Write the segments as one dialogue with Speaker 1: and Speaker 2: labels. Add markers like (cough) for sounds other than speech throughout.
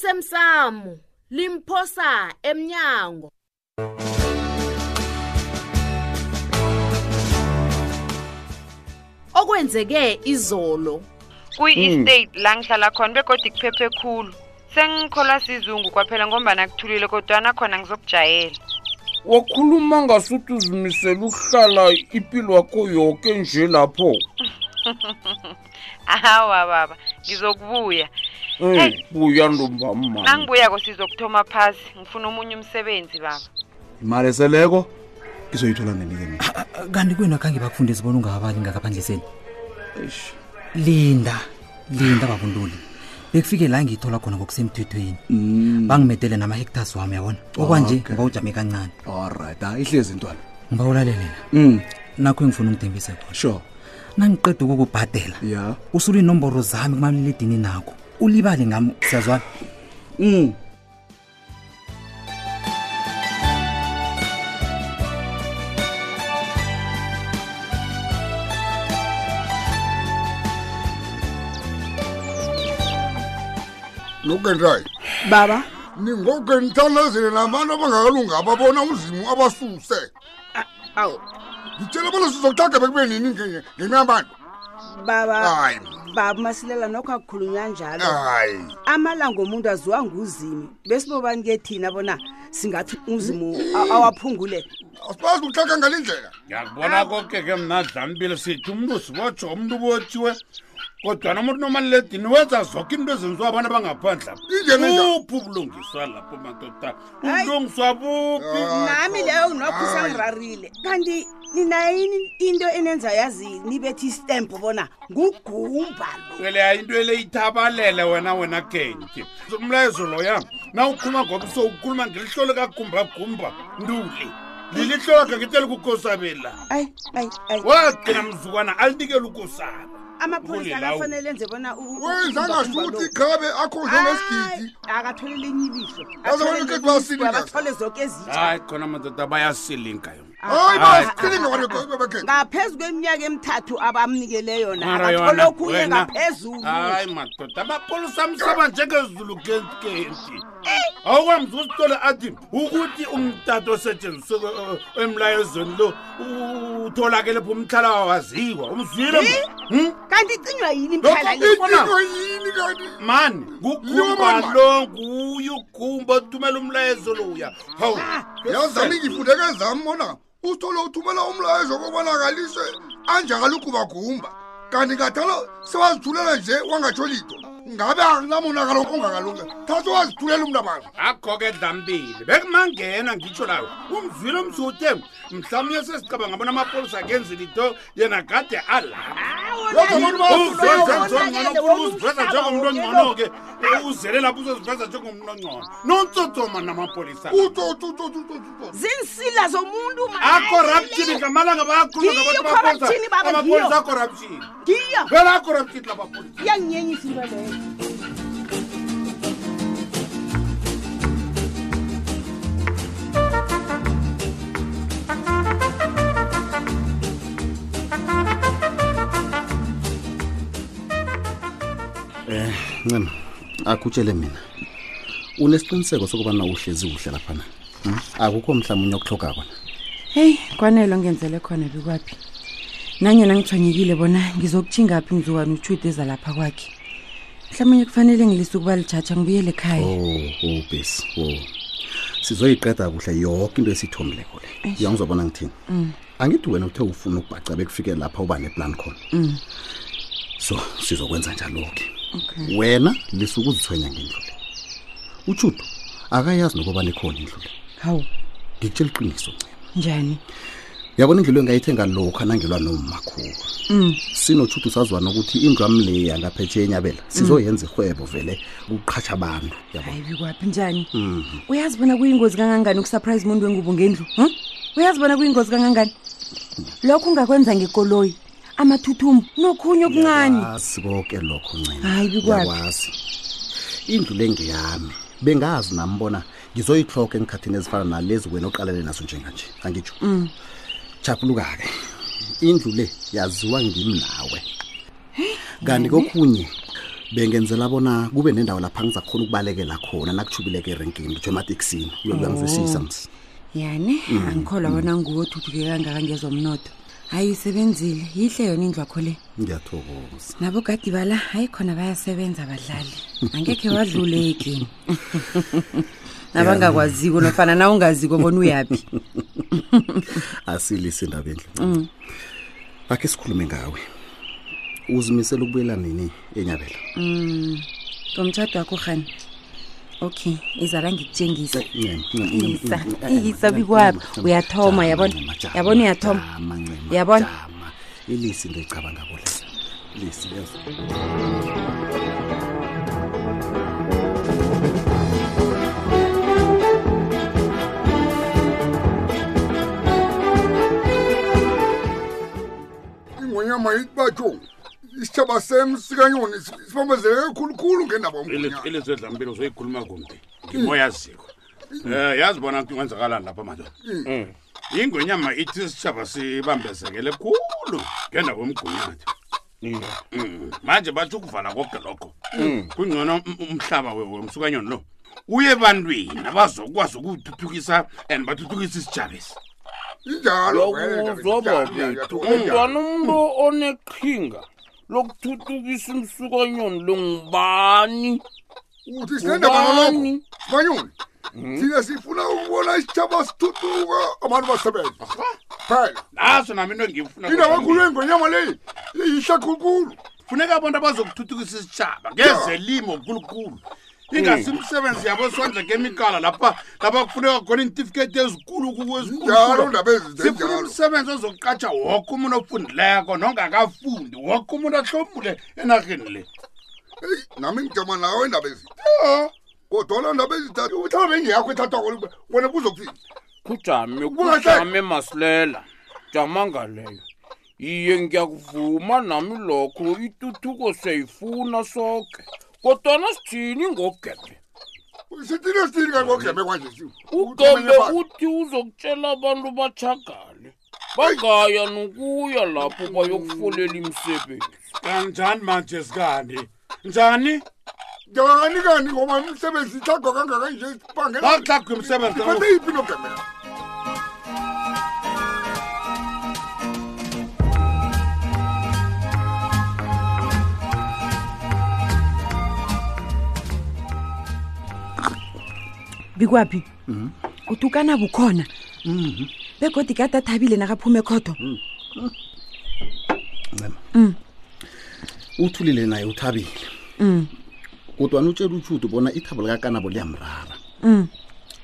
Speaker 1: osemsamo limphosa emnyango okwenzeke izolo
Speaker 2: kuyi-estate la ngihlala khona begodi kuphephe khulu sengikholwa sizungu kwaphela ngombana kuthulile kodwana khona ngizokujayela (laughs)
Speaker 3: wakhuluma ngasuthi uzimisele ukuhlala impilo yakho yonke nje lapho
Speaker 2: awa baba ngizokubuya
Speaker 3: Eh,
Speaker 2: Hey.
Speaker 3: buya ntombamani
Speaker 2: nangibuyako sizokuthoma phasi ngifuna omunye umsebenzi baba
Speaker 4: imali eseleko ngizoyithola nenike mina
Speaker 5: kanti kwena khange bakufunde zibona ungakabali ngakaphandliseni linda linda babuntuli bekufike la ngiyithola khona ngokusemthethweni
Speaker 3: Mm.
Speaker 5: bangimedele nama-hectars wami yabona okwanje
Speaker 4: Mm. Ah, okay.
Speaker 5: ngoba ujame kancane
Speaker 4: allright hayi ihlezi intwana
Speaker 5: ngoba ulalelela
Speaker 4: um
Speaker 5: nakho engifuna ungithembise khona
Speaker 4: sure
Speaker 5: nangiqeda ukukubhadela
Speaker 4: ya
Speaker 5: usula inomboro zami kumaliledini nakho ulibale ngami siyazwana
Speaker 4: um
Speaker 6: nokendayi
Speaker 7: baba
Speaker 6: ningoke nithandazele nabantu abangakalunga ababona uzimu abasuse
Speaker 7: awu
Speaker 6: ngitshele bona sizokuhlaga bekube nini nge- ngenxa yabantu
Speaker 7: baba
Speaker 6: hayi Ah.
Speaker 7: baba masilela nokho akukhulunywa njalo
Speaker 6: hayi
Speaker 7: amalanga omuntu aziwa nguzimi besibobani-ke thina bona singathi uzimu a- awaphungule
Speaker 6: asibazi ukuhlaga ngale ndlela
Speaker 3: ngiyakubona konke ke mna dlambile sithi umntu sibotsho umntu ubotshiwe kodwana umuntu nomaliledini wenza zoke into ezenziwa abantu abangaphandla
Speaker 6: Injani njalo?
Speaker 3: uphi ubulungiswa lapho madoda
Speaker 7: Hayi.
Speaker 3: ubulungiswa buphi
Speaker 7: nami leyo nokho
Speaker 6: Hayi.
Speaker 7: usangirarire kanti ninayini into enenza yazi nibethi istempu bona ngugumba lo
Speaker 3: leya into eleyithabalele wena wena kenki umlayezo loya na ukhuluma ngoba sowukhuluma ngelihlo likagumbagumba ntuli lilihlo lakhe ngiteli kukhosabela
Speaker 7: ayi ayi ayi
Speaker 3: wagcina mzukwana alinikele ukosana
Speaker 7: amapholisa
Speaker 3: Ukulila, awu.
Speaker 7: akafanele enze bona u- u-
Speaker 6: wenza
Speaker 7: ugumba
Speaker 6: ngasho ukuthi
Speaker 7: lo.
Speaker 6: ikhabe akhozo
Speaker 7: Hayi,
Speaker 6: ngesigidi
Speaker 7: akathole elinye ilihlo
Speaker 6: Yazi abantu
Speaker 7: Athole
Speaker 6: ekhethu
Speaker 7: elinye
Speaker 6: bayasilinga.
Speaker 7: ilihlo, abathole zoke Ah, ezitsha
Speaker 3: hayi khona madoda bayasilinga yona
Speaker 6: hayi basilinga
Speaker 7: ah.
Speaker 6: banebekhethu
Speaker 7: ngaphezu kweminyaka emithathu abamnikele yona
Speaker 3: Mara
Speaker 7: abathole
Speaker 3: yona,
Speaker 7: okhunye
Speaker 3: wena-
Speaker 7: ngaphezulu
Speaker 3: hayi madoda amapolisa msaba njengezulu kentikenti awukwamzi usitole athi ukuthi umtato osetshenziswe eh, emlayezweni lo u- utholakele pho umhlala wawaziwa umzwile Hmm?
Speaker 7: kanti icinywa yini
Speaker 3: Lokho
Speaker 7: mhlala le?
Speaker 3: Bona.
Speaker 6: into yini kanti
Speaker 3: mani
Speaker 6: Yo,
Speaker 3: ngugumba
Speaker 6: mama.
Speaker 3: lo nguye ugumba othumela umlayezo lowuya hawu
Speaker 6: yazami ngifundeke zami bona uthole uthumela umlayezo kobonakaliswe anjalo ukubagumba kanti ngathalo sewazithulela nje wangatsho lito ngabe akunamonakalo ongakalunga thatha wazithulela umntu abantu
Speaker 3: akho ke dlambile bekumangena ngitsho layo umzwile umsuthe mhlawumbe sesicabanga bona amapolisa akenzile into yena gade alapha
Speaker 6: abantu bayafunda
Speaker 3: uziveza njengomntu ongcono-ke uzele lapho uzoziveza njengomntu ongcono nontsotsoma namapolisa
Speaker 6: utototototototo
Speaker 7: zinsila zomuntu
Speaker 3: acorruption ngamalanga bayakhuluma
Speaker 7: Ngiyo
Speaker 3: ngabantu abapolisa.
Speaker 7: i-corruption, baba,
Speaker 3: Abapolisa
Speaker 7: ngiyo.
Speaker 3: acorruption
Speaker 7: ngiyo
Speaker 3: vela acorruption labapolisa
Speaker 7: iyanginyenyisa into leyo
Speaker 4: Eh, ncema akutshele mina unesiqiniseko sokubana uhlezi kuhle laphana Hmm? akukho mhlawumbe unye okuhloga kona
Speaker 8: heyi kwanelo ngenzele khona bikwaphi nanyena ngithonyekile bona ngizokutshingaphi mzuwane utshude ezalapha kwakhe mhlawumunye kufanele ngilise ukuba lijaja ngibuyele ekhaya
Speaker 4: oh besi o sizoyiqeda kuhle yonke into esithombileko le ya ngizobona ngithini
Speaker 8: Mm.
Speaker 4: angithi wena uthe ufuna ukubhaca bekufike lapha uba neplan khona
Speaker 8: Mm.
Speaker 4: so sizokwenza njalo-ke
Speaker 8: Okay.
Speaker 4: wena lisuke uzithwenya ngendlu le utshudo akayazi nokubana ekhona indlu le
Speaker 8: hawu
Speaker 4: ngikutshela iqiniso ncema
Speaker 8: njani
Speaker 4: yabona indlu le engayithenga lokhu anangelwa nomakhulu
Speaker 8: um
Speaker 4: sinotshudu sazwana ukuthi indlu yami le yangaphethe enyabela sizoyenza irhwebo vele kuqhatsha abantu yabo
Speaker 8: Mm. hayi bikwaphi njani uyazi bona kuyingozi kangangani ukusurprise umuntu wengubo ngendlu hm? uyazi bona kuyingozi kangangani lokho ungakwenza ngekoloyi amathuthumbo nokhunye okuncane
Speaker 4: azi konke lokho ncema
Speaker 8: Hayi, bikwaphi.
Speaker 4: Ngiyakwazi. indlu le ngeyami bengazi nami bona ngizoyihloka engikhathini ezifana nalezi wena oqalele nazo njenganje angitsho
Speaker 8: Mm.
Speaker 4: japhuluka-ke indlu le yaziwa ngimi nawe kanti kokhunye
Speaker 6: bengenzela bona kube nendawo lapha ngizakhona ukubalekela khona nakujubileke erenkini ngitsho emateksini uyokuyangizwisisa msi
Speaker 8: Oh. yani
Speaker 4: Mm,
Speaker 8: angikholwa bona nguwo othuthuke kangaka ngezomnotho hayi isebenzile yihle yona indlu akho le
Speaker 6: ngiyathokoza
Speaker 8: nabogadi bala hayi khona bayasebenza badlali angekhe wadlule ekini nabangakwaziko nofana na ungaziko bona uyaphi
Speaker 6: asilise indaba
Speaker 8: Mm.
Speaker 6: endle akhe sikhulume ngawe uzimisela ukubuyela nini enyabela
Speaker 8: ngomtshado Mm. wakho hani okay izala ngikutshengisa
Speaker 6: Ncema, Eh, ncema,
Speaker 8: Isa,
Speaker 6: ncema, ncema,
Speaker 8: (laughs) isa
Speaker 6: ncema,
Speaker 8: bikwabo.
Speaker 6: ncema, ncema.
Speaker 8: Uyathoma,
Speaker 6: Jama,
Speaker 8: yabona?
Speaker 6: ncema, jama,
Speaker 8: Yabona, uyathoma.
Speaker 6: jama, ncema,
Speaker 8: Yabona?
Speaker 6: jama. ilisi into icabanga kolelo ilisi yezo
Speaker 9: ingwenyama ithi batsho isitshaba sem sikanyoni si- sibambezeleke khulukhulu ngendaba yomngonyana
Speaker 10: ilizwe edlampilo uzoyikhuluma kumbi ngimoyaziko um yazi bona kuthi kwenzakalani lapha madoda ingwenyama ithi isitshaba sibambezekele khulu ngendaba yomgunyathi Mm. manje batsho ukuvala koke lokho kungcono um- umhlaba we- wemsukanyoni lo uye ebantwini abazokwazi ukuwuthuthukisa and bathuthukisa isijabesi
Speaker 9: injalo vele,
Speaker 3: yokuzoba
Speaker 9: injalo,
Speaker 3: bethu
Speaker 9: injalo, injalo.
Speaker 3: umntwana umntu oneqhinga lokuthuthukisa imsukanyoni lo ngubani
Speaker 9: uthi sinendaba nalokho
Speaker 3: Ubani?
Speaker 9: sibanyoni thina sifuna ukubona isitshaba sithuthuka abantu basebenza phela
Speaker 10: naso nami into engiyifuna
Speaker 9: indaba ekhulu yengwenyama leyi iyihle khulukhulu
Speaker 10: funeka abantu abazokuthuthukisa isitshaba ngezelimo kulukulu ingasimsebenzi yabo sondla kemikala lapha lapha kufuneka khona iintifiketi ezikulu kuku ezikulu.
Speaker 9: Njalo ndaba ezinje
Speaker 10: sifuna
Speaker 9: njalo.
Speaker 10: umsebenzi ozokuqatsha woke umuntu ofundileko nongakafundi woke umuntu ahlomule enarheni le
Speaker 9: eyi nami ngijama nawo indaba ezitha kodwana ndaba ezithathu uhlala bengiyakho ethathwako wena kuzokuthini
Speaker 3: kujame
Speaker 9: Ubulahle.
Speaker 3: kujame masilela jama ngaleyo iye ngiyakuvuma nami lokho ituthuko siyayifuna soke kodwana sithini ngogebhe
Speaker 9: sithini esithini kanti kogembe kwanje siwu?
Speaker 3: ugembe
Speaker 9: Uthumele phasi.
Speaker 3: uthi uzokutshela abantu bachagale bangaya nokuya lapho bayokufolela imisebenzi
Speaker 10: kanjani manje sikandi njani
Speaker 9: njani kani ngoba umsebenzi ihlagwa kangaka nje sibangela
Speaker 10: bakuhlagwa imisebenzi
Speaker 9: iphathe yiphi nogemela
Speaker 8: bikwaphi
Speaker 9: Mhm.
Speaker 8: uthi ukanabo ukhona begodi kade athabile nakaphume ekhodo
Speaker 9: Mhm.
Speaker 6: ncema
Speaker 8: Mm.
Speaker 6: uthulile naye uthabile kodwana utshela utshudu bona ithabo likakanabo liyamrara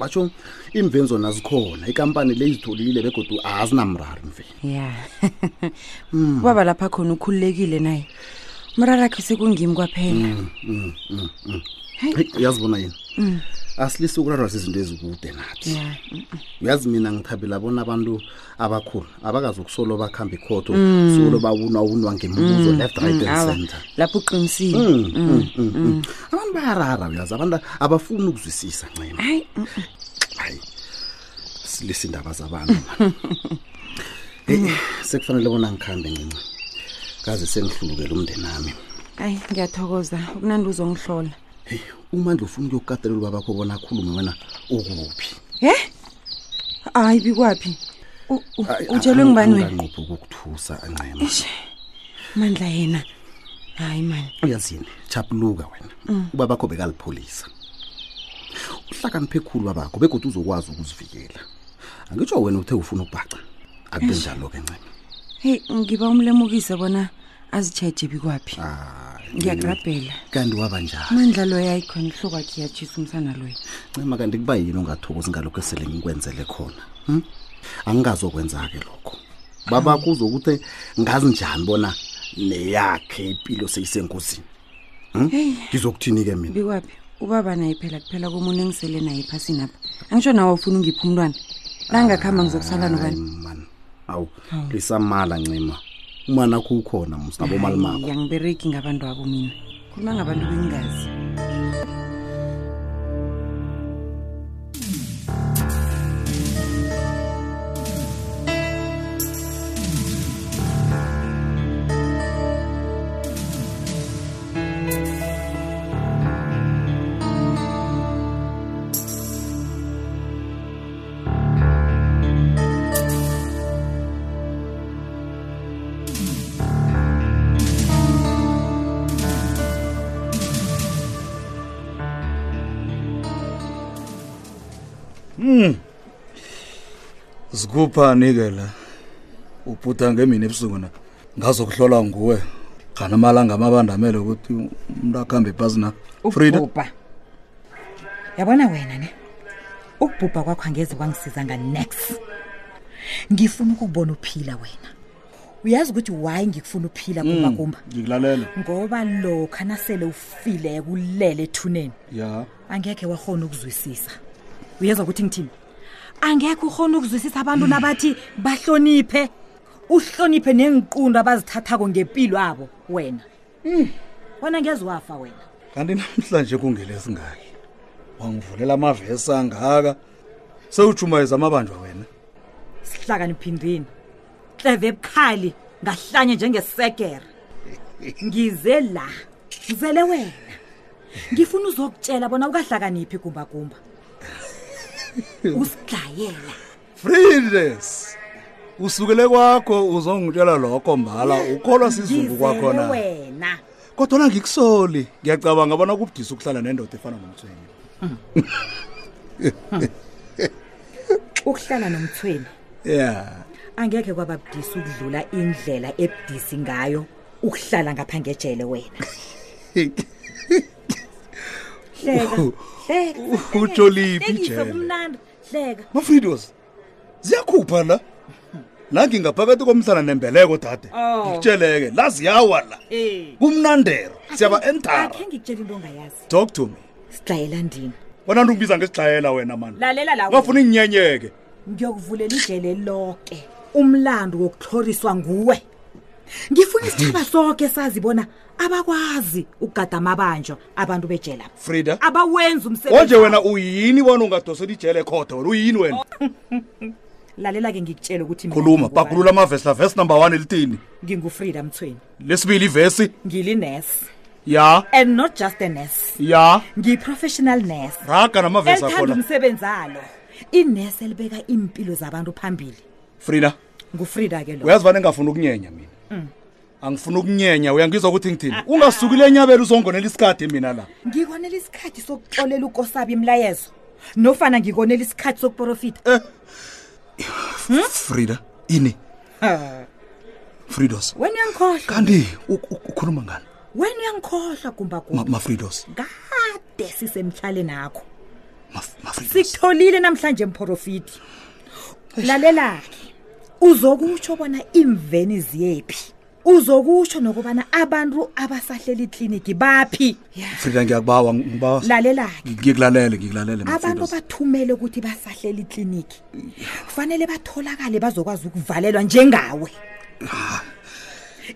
Speaker 6: batsho imveni zona zikhona ikampani le izitholile begodwa azinamrari mveni
Speaker 8: ya (laughs) ubaba lapha khona ukhululekile naye umrarakhe sekungimi kwaphela
Speaker 6: Hey, uyazibona yini
Speaker 8: Mm.
Speaker 6: asilise ukurarwa zizinto ezikude nathi
Speaker 8: ya
Speaker 6: uyazi mina ngithabela bona abantu abakhulu abakazi ukusolo bakhambe ikhotho solo bawunwa unwa ngemibuzo left right and
Speaker 8: Mm. awa
Speaker 6: center
Speaker 8: lapho uqinisile
Speaker 6: Mm, mm, mm, mm. abantu bayarara uyazi abantu abafuni ukuzwisisa ncema
Speaker 8: hayi
Speaker 6: hayi silisa iindaba zabantu
Speaker 8: (laughs)
Speaker 6: man. heyi sekufanele bona ngikhambe ncinci kaze sengihlulukele umndenami
Speaker 8: hayi ngiyathokoza ukunandi uzongihlola
Speaker 6: heyi umandla ufuna ukuyokukatelela uba bakho bona akhulume wena ukuphi
Speaker 8: ye hayi bikwaphi U- u- utshelwe ngubani wena
Speaker 6: nganqophi ukukuthusa ncema
Speaker 8: mandla yena hayi mani
Speaker 6: uyazini chapuluka wena
Speaker 8: Mm.
Speaker 6: uba bakho bekalipholisa uhlakaniphe khulu babakho begodwa uzokwazi ukuzivikela angitsho wena uthe ufuna ukubhaca akube njalo-ke ncema
Speaker 8: heyi ngiba umlemukise bona azitsheje bikwaphi
Speaker 6: Hayi,
Speaker 8: ngiyaqabhela
Speaker 6: kanti waba njani
Speaker 8: amandla loyo ayikhona ihlokwakhe iyatshisa umsana loyo
Speaker 6: ncema kanti kuba yini ungathokozi ngalokho esele ngikwenzele khona hm? angingazokwenza-ke lokho babakho uzokuthe ngazi njani bona neyakhe impilo seyisengozini hm? ngizokuthini-ke mina
Speaker 8: bikwaphi ubaba naye phela kuphela komuntu engisele naye ephasini apha angisho nawe ufuna ungiphi umntwana nangingakuhamba ngizokusala nobani
Speaker 6: Hayi, man awu lisamala ncima umani akho ukhona msinabomalima
Speaker 8: Hayi, angibereki ngabantu abo mina khuluma ngabantu bengingazi
Speaker 6: Hmm. Sikuphani ke la. Ubhuda ngemini ebusuku na. Ngazokuhlola nguwe. Kana malanga amabandamele ukuthi umuntu akhambe phasi na. Frida.
Speaker 7: ubhubha yabona wena ne ukubhubha kwakho angeze kwangisiza nganex ngifuna ukubona uphila wena uyazi ukuthi why ngikufuna uphila
Speaker 6: Mm.
Speaker 7: kumba kumba
Speaker 6: Ngikulalela.
Speaker 7: ngoba lokha nasele ufile kulele ethuneni
Speaker 6: Ya.
Speaker 7: angekhe wahona ukuzwisisa uyezwa ukuthi ngithini angekhe uhona ukuzwisisa abantu nabathi bahloniphe uhloniphe nengiqundo abazithathako ngempilo abo wena wona ngeze wafa wena
Speaker 6: Kanti namhlanje kungele singaki. Wangivulela amavesi angaka. Sewujumayeza amabanjwa wena.
Speaker 7: sihlakaniphindini kleve ebukhali ngahlanye njengesekere ngize la ngizele wena ngifuna uzokutshela bona ukahlakaniphi gumbagumba usigayela
Speaker 6: Freedness. Usukele kwakho uzongitshela lokho mbala ukholwa sizungu kwakho na.
Speaker 7: wena
Speaker 6: kodwa na ngikusoli ngiyacabanga bona kubudisa ukuhlala nendoda efana nomthweni
Speaker 7: ukuhlala nomthweni
Speaker 6: ya
Speaker 7: angekhe kwababudisi ukudlula indlela ebudisi ngayo ukuhlala ngapha ngejele wena hleka
Speaker 6: U-
Speaker 7: hleka
Speaker 6: utsholi phi
Speaker 7: Hlekisa,
Speaker 6: ijele?
Speaker 7: kumnandi hleka
Speaker 6: mafridos ziyakhupha la nangingaphakathi komhlana nembeleko dade
Speaker 7: Oh.
Speaker 6: ngitsheleke la ziyawa la
Speaker 7: Eh.
Speaker 6: kumnandero siyaba-entara
Speaker 7: akhe ngikutshela into ongayazi
Speaker 6: talk to me
Speaker 7: sidlayela ndini
Speaker 6: wena nto ungibiza ngesidlayela wena mani
Speaker 7: lalela la wena.
Speaker 6: ungafuna inyenyeke
Speaker 7: ngiyokuvulela ijele lonke umlando wokutlhoriswa nguwe ngifuna isithaba soke sazi bona abakwazi ukugada amabanjwa abantu bejela
Speaker 6: frida
Speaker 7: abawenzi umsebenzi
Speaker 6: konje wena uyini bona ungadosela ijele ekhoda wena uyini wena
Speaker 7: lalela-ke ngikutshele ukuthi mina
Speaker 6: khuluma
Speaker 7: ngingubani.
Speaker 6: bakhulula amavesi la vesi number one elithini
Speaker 7: ngingufrida mthweni
Speaker 6: lesibili ivesi
Speaker 7: ngilinesi
Speaker 6: ya
Speaker 7: and not just a nurse
Speaker 6: ya
Speaker 7: ngiyi-professional nurse
Speaker 6: raga namavesi
Speaker 7: elithanda
Speaker 6: akhona
Speaker 7: umsebenzi alo inesi elibeka impilo zabantu phambili
Speaker 6: frida
Speaker 7: ngufrida-ke lo
Speaker 6: uyazi vane ngafuna ukunyenya mina
Speaker 7: Mm.
Speaker 6: angifuna ukunyenya uyangizwa ukuthi ngithini ungasukile enyabeli uzongonela isikade mina la
Speaker 7: ngikonela isikhathi sokuxolela ukosabi imlayezo nofana ngikonela isikhathi sokuprofitha
Speaker 6: frida ini fridos
Speaker 7: wena uyangikhohlwa
Speaker 6: kanti u- u- ukhuluma ngani
Speaker 7: wena uyangikhohlwa
Speaker 6: Ma-
Speaker 7: gumbagumba
Speaker 6: mafridos
Speaker 7: kade sisemhlaleni akho
Speaker 6: mafridos
Speaker 7: sikutholile namhlanje mphorofiti lalelakhe uzokutsho bona imveni ziyephi uzokutsho nokubana abantu abasahleli ikliniki baphi
Speaker 6: frida ngiyakubawa ngibawa
Speaker 7: lalelakhe
Speaker 6: ngikulalele ngikulalele
Speaker 7: abantu
Speaker 6: mafridos
Speaker 7: bathumele ukuthi basahlela ikliniki kufanele batholakale bazokwazi ukuvalelwa njengawe
Speaker 6: Ah.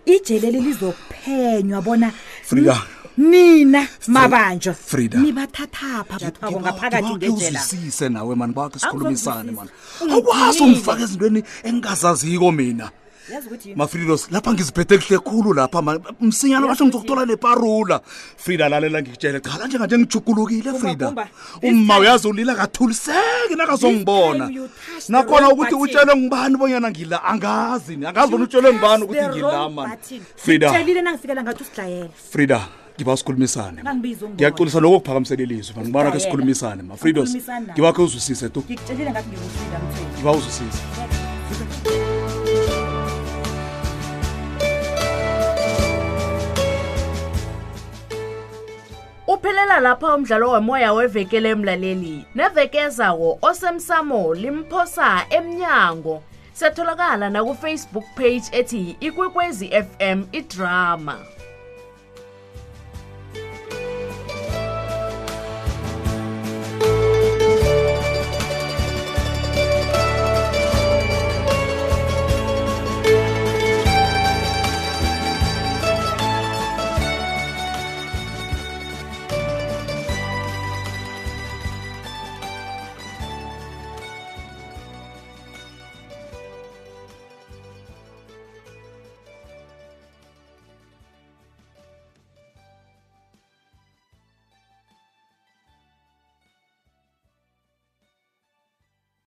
Speaker 7: ijeleli lizokuphenywa bona
Speaker 6: frida
Speaker 7: nina mabanjwa
Speaker 6: Frida.
Speaker 7: nibathathapha bathwako ngaphakathi
Speaker 6: Ngibawa
Speaker 7: ngejela
Speaker 6: uzwisise nawe mani bakhe sikhulumisane mani
Speaker 7: Angizokuzwisisa.
Speaker 6: awukwazi
Speaker 7: Ungidinile.
Speaker 6: ungifaka ezintweni engingazaziko mina
Speaker 7: yazi ukuthi yini?
Speaker 6: mafridos lapha ngiziphethe kuhle khulu lapha ma- msinyana basho ngizokuthola neparula frida lalela ngitshele cha kanje nganje ngijugulukile frida
Speaker 7: Kumba,
Speaker 6: umma uyazi ulila kathuliseki nakazongibona
Speaker 7: This time you touch the
Speaker 6: nakhona
Speaker 7: wrong
Speaker 6: ukuthi
Speaker 7: button.
Speaker 6: utshelwe ngubani bonyana ngila angazi ni angazi bona utshelwe ngubani ukuthi ngila mani frida
Speaker 7: frida nangifikela ngathi usidlayela
Speaker 6: frida ngiba sikhulumisane man.
Speaker 7: Ngangibiza ungibona.
Speaker 6: ngiyaqolisa lokho kuphakamisela ilizwi man ngibana ke
Speaker 7: Ngiyayela.
Speaker 6: sikhulumisane mafridos
Speaker 7: Sikhulumisane nawe.
Speaker 6: ngibakhe uzwisise tu
Speaker 7: ngikutshelile ngathi ngingufrida mthweni
Speaker 6: ngiba uzwisise
Speaker 1: uphelela lapha umdlalo womoya wevekele emlaleli neveke ezawo osemsamo limphosa emnyango setholakala nakufacebook page ethi ikwekwezi fm idrama